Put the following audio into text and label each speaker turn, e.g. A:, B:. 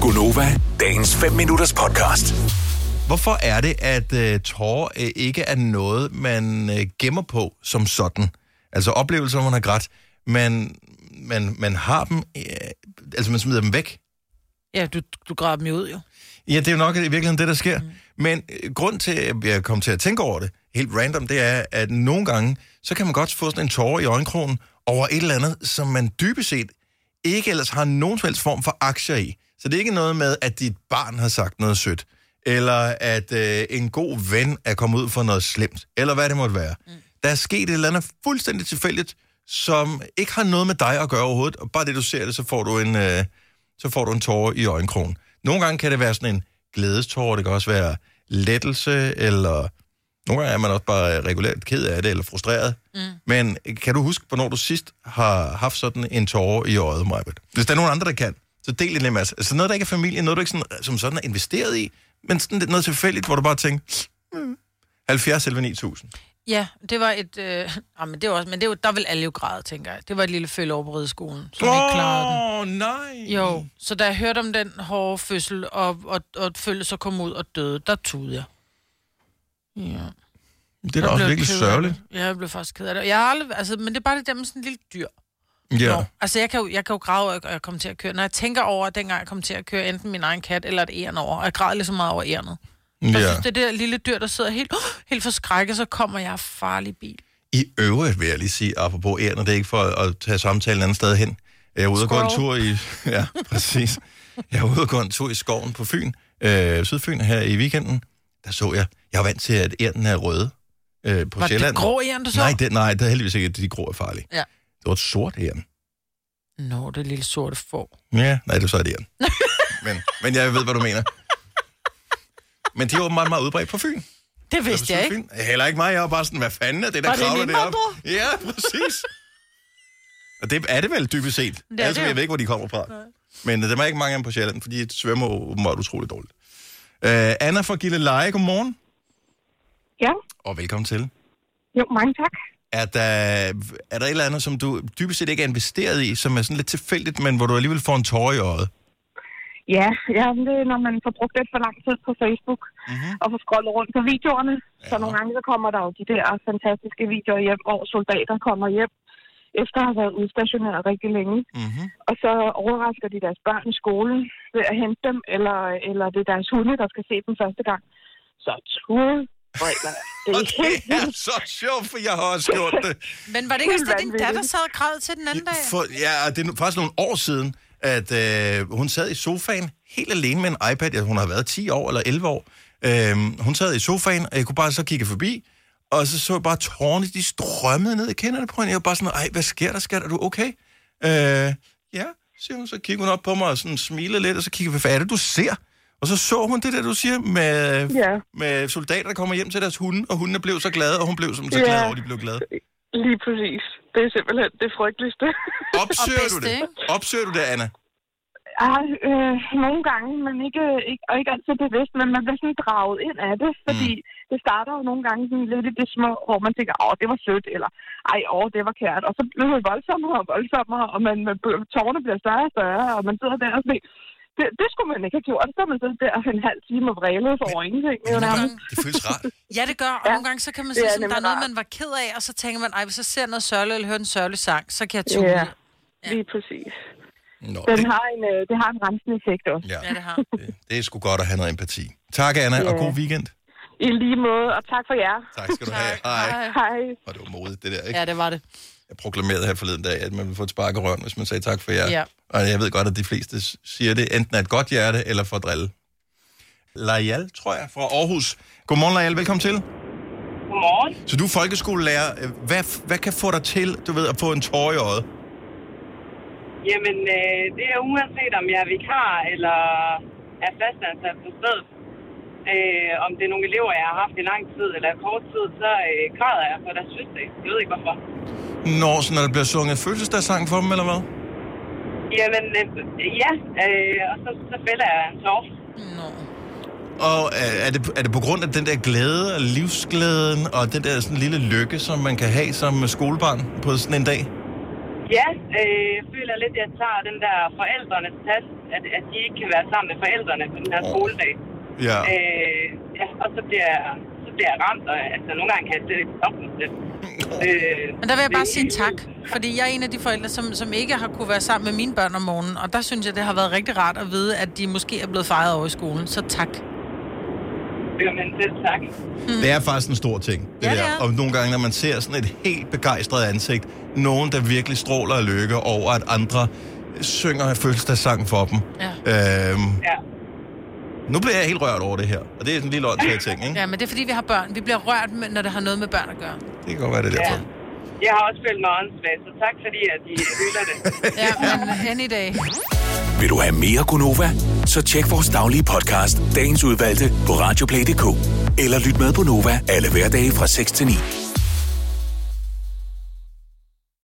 A: Gunova, dagens 5 minutters podcast.
B: Hvorfor er det, at øh, tårer øh, ikke er noget, man øh, gemmer på som sådan? Altså oplevelser, hvor man har grædt, men man, man har dem, øh, altså man smider dem væk.
C: Ja, du, du graver dem jo ud, jo.
B: Ja, det er jo nok i virkeligheden det, der sker. Mm. Men øh, grund til, at jeg kom til at tænke over det, helt random, det er, at nogle gange, så kan man godt få sådan en tårer i øjenkrogen over et eller andet, som man dybest set ikke ellers har nogen som helst form for aktier i. Så det er ikke noget med, at dit barn har sagt noget sødt, eller at øh, en god ven er kommet ud for noget slemt, eller hvad det måtte være. Mm. Der er sket et eller andet fuldstændig tilfældigt, som ikke har noget med dig at gøre overhovedet, og bare det, du ser det, så får du en, øh, så får du en tårer i øjenkrogen. Nogle gange kan det være sådan en glædestårer, det kan også være lettelse, eller nogle gange er man også bare regulært ked af det, eller frustreret. Mm. Men kan du huske, hvornår du sidst har haft sådan en tårer i øjet, Majbet? Hvis der er nogen andre, der kan, så del det lidt med os. Altså noget, der ikke er familie, noget, du ikke sådan, som sådan er investeret i, men sådan lidt noget tilfældigt, hvor du bare tænker, mm, 70 eller 9000.
C: Ja, det var et... Øh, ah, men det var også, men det var, der vil alle jo græde, tænker jeg. Det var et lille følge over på rideskolen, som oh. ikke klarede den.
B: Åh, oh, nej!
C: Jo, så da jeg hørte om den hårde fødsel, og, og, og følge så kom ud og døde, der tudede jeg. Ja.
B: Det er da
C: Jeg
B: også
C: blev
B: virkelig
C: ked af
B: sørgeligt.
C: det. Ja, jeg blev faktisk ked af det. Jeg har aldrig, altså, men det er bare det der med sådan en lille dyr.
B: Ja.
C: Nå, Altså, jeg kan jo, jeg kan jo græde over, at jeg kom til at køre. Når jeg tænker over, at dengang jeg kom til at køre enten min egen kat eller et æren over, og jeg græd lige så meget over ærenet. Jeg
B: ja.
C: synes, det der lille dyr, der sidder helt, helt forskrækket, så kommer jeg farlig bil.
B: I øvrigt vil jeg lige sige, apropos æren, og det er ikke for at, at tage samtalen andet sted hen. Jeg er ude og gå en tur
C: Squirrel.
B: i... Ja, præcis. Jeg er ude og gå en tur i skoven på Fyn, øh, Sydfyn her i weekenden. Der så jeg, jeg er vant til, at æren er røde øh, på
C: Var
B: Sjælland.
C: det grå æren, du så?
B: Nej, det, nej, det er heldigvis ikke, at de grå er farlige.
C: Ja.
B: Det var et sort æren.
C: Nå, det lille sorte får.
B: Ja, nej, det var så et æren. men, men jeg ved, hvad du mener. Men de er åbenbart meget udbredt på Fyn.
C: Det vidste jeg
B: På
C: ikke.
B: Sydfyn. Heller ikke mig. Jeg var bare sådan, hvad fanden er det, der
C: Var det
B: kravler
C: en
B: deroppe? Ja, præcis. Og det er det vel dybest set.
C: er
B: Det altså,
C: det.
B: jeg ved ikke, hvor de kommer fra. Men øh, dem er ikke mange af dem på Sjælland, fordi de svømmer jo åbenbart utroligt dårligt. Uh, Anna fra Gilleleje, godmorgen.
D: Ja,
B: Og velkommen til.
D: jo, mange tak.
B: Er der, er der et eller andet, som du dybest set ikke er investeret i, som er sådan lidt tilfældigt, men hvor du alligevel får en tårer i øjet?
D: Ja, ja men det, er, når man får brugt lidt for lang tid på Facebook mm-hmm. og får scrollet rundt på videoerne, ja. så nogle gange så kommer der jo de der fantastiske videoer hjem, hvor soldater kommer hjem efter at have været udstationeret rigtig længe.
B: Mm-hmm.
D: Og så overrasker de deres børn i skolen ved at hente dem, eller, eller det er deres hunde, der skal se dem første gang. Så tude, det
B: Og
D: er helt
B: det er så sjovt, for jeg har også gjort det.
C: Men var det ikke også det, din
D: Vanvittigt.
C: datter sad og græd til den anden dag?
B: For, ja, det er nu- faktisk nogle år siden, at øh, hun sad i sofaen helt alene med en iPad. Ja, hun har været 10 år eller 11 år. Øhm, hun sad i sofaen, og jeg kunne bare så kigge forbi, og så så jeg bare tårerne, de strømmede ned i kenderne på hende. Jeg var bare sådan, ej, hvad sker der, skat? Er du okay? Øh, ja, siger hun, så kigger hun op på mig og sådan smiler lidt, og så kigger jeg, hvad er det, du ser? Og så så hun det der, du siger, med,
D: Ja.
B: med soldater, der kommer hjem til deres hunde, og hundene blev så glade, og hun blev som så
D: Ja.
B: glad over, at de blev glade.
D: lige præcis. Det er simpelthen det frygteligste.
B: Opsøger
C: bedste,
B: du det?
C: ikke?
B: Opsøger du det, Anna?
D: Ja, øh, nogle gange, men ikke, ikke, og ikke altid bevidst, men man bliver sådan draget ind af det, fordi mm. det starter jo nogle gange sådan lidt i det små, hvor man tænker, åh, det var sødt, eller ej, åh, det var kært, og så bliver det voldsommere og voldsommere, og man, man, bliver- tårerne bliver større og større, og man sidder der og tænker, det, det skulle man ikke have gjort, så er man sidder der en halv time og vrælet for over ingenting. jo
C: nogle
D: nærmest.
C: gange-
B: Det føles rart.
C: Ja, det gør. Og ja. nogle gange, så kan man
D: Det
C: sige,
D: er
C: sådan, der er
D: nemlig
C: noget,
D: rart.
C: man var ked af, og så tænker man, ej, hvis jeg ser noget sørgeligt eller hører en sørgelig sang, så kan jeg tune.
D: Ja,
C: Ja.
D: lige præcis.
B: Nå,
D: Den
B: det,
D: har en, øh, det har en rensende effekt også.
B: ja,
C: ja, det har.
B: det, det er sgu godt at have noget empati. Tak, Anna, og god weekend.
D: I lige måde, og tak for jer.
B: Tak skal du have. Hej.
D: Hej.
B: Og det var modigt, det der, ikke?
C: Ja, det var det.
B: Jeg proklamerede her forleden dag, at man ville få et spark i røven, hvis man sagde tak for jer.
C: Ja.
B: Og jeg ved godt, at de fleste s- siger det enten af et godt hjerte eller for at drille. Lajal, tror jeg, fra Aarhus. Godmorgen, Lajal. Velkommen til.
E: Godmorgen.
B: Så du er folkeskolelærer. Øh, Hvad, f- hvad kan få dig til, du ved, at få en tårer i øjet?
E: Jamen, øh, det er uanset om jeg er vikar eller er fastansat på stedet. Øh, om det er nogle elever, jeg har haft i lang tid eller kort tid, så øh, græder jeg for deres fødselsdag. Jeg ved ikke hvorfor.
B: Når, sådan, når der bliver sunget fødselsdagssang for dem, eller hvad?
E: Jamen, øh, ja. Øh, og så, så fælder jeg en tår.
C: Nå.
B: Og øh, er er det, er det på grund af den der glæde og livsglæden og den der sådan lille lykke, som man kan have som skolebarn på sådan en dag?
E: Ja, øh, jeg føler lidt, at jeg tager den der forældrenes tast at, at de ikke kan være sammen med forældrene på den her
B: Åh.
E: skoledag.
B: Ja.
E: Øh, ja, og så bliver, jeg- så bliver jeg ramt, og altså, nogle gange kan jeg slet ikke stoppe mig selv. Øh,
C: Men der vil jeg bare
E: det-
C: sige tak, fordi jeg er en af de forældre, som, som ikke har kunne være sammen med mine børn om morgenen, og der synes jeg, det har været rigtig rart at vide, at de måske er blevet fejret over i skolen, så tak.
E: Jamen, selv tak.
B: Det er faktisk en stor ting, det
C: Ja,
B: ja,
C: det
B: der.
C: er.
B: Og nogle gange, når man ser sådan et helt begejstret ansigt, nogen, der virkelig stråler af lykke over, at andre synger en fødselsdagssang for dem. Ja. Øhm,
E: Ja.
B: nu bliver jeg helt rørt over det her, og det er sådan en lille åndssvagt ting, ikke?
C: Ja, men det er fordi, vi har børn. Vi bliver rørt, med- når det har noget med børn at gøre.
B: Det kan godt være, det er derfor.
E: Ja. Jeg har også følt mig åndssvagt, så tak fordi, at I hylder det.
C: Ja, men any day.
A: Vil du have mere Gunova? Så tjek vores daglige podcast, dagens udvalgte, på radioplay.dk. Eller lyt med på Nova alle hverdage fra 6 til 9.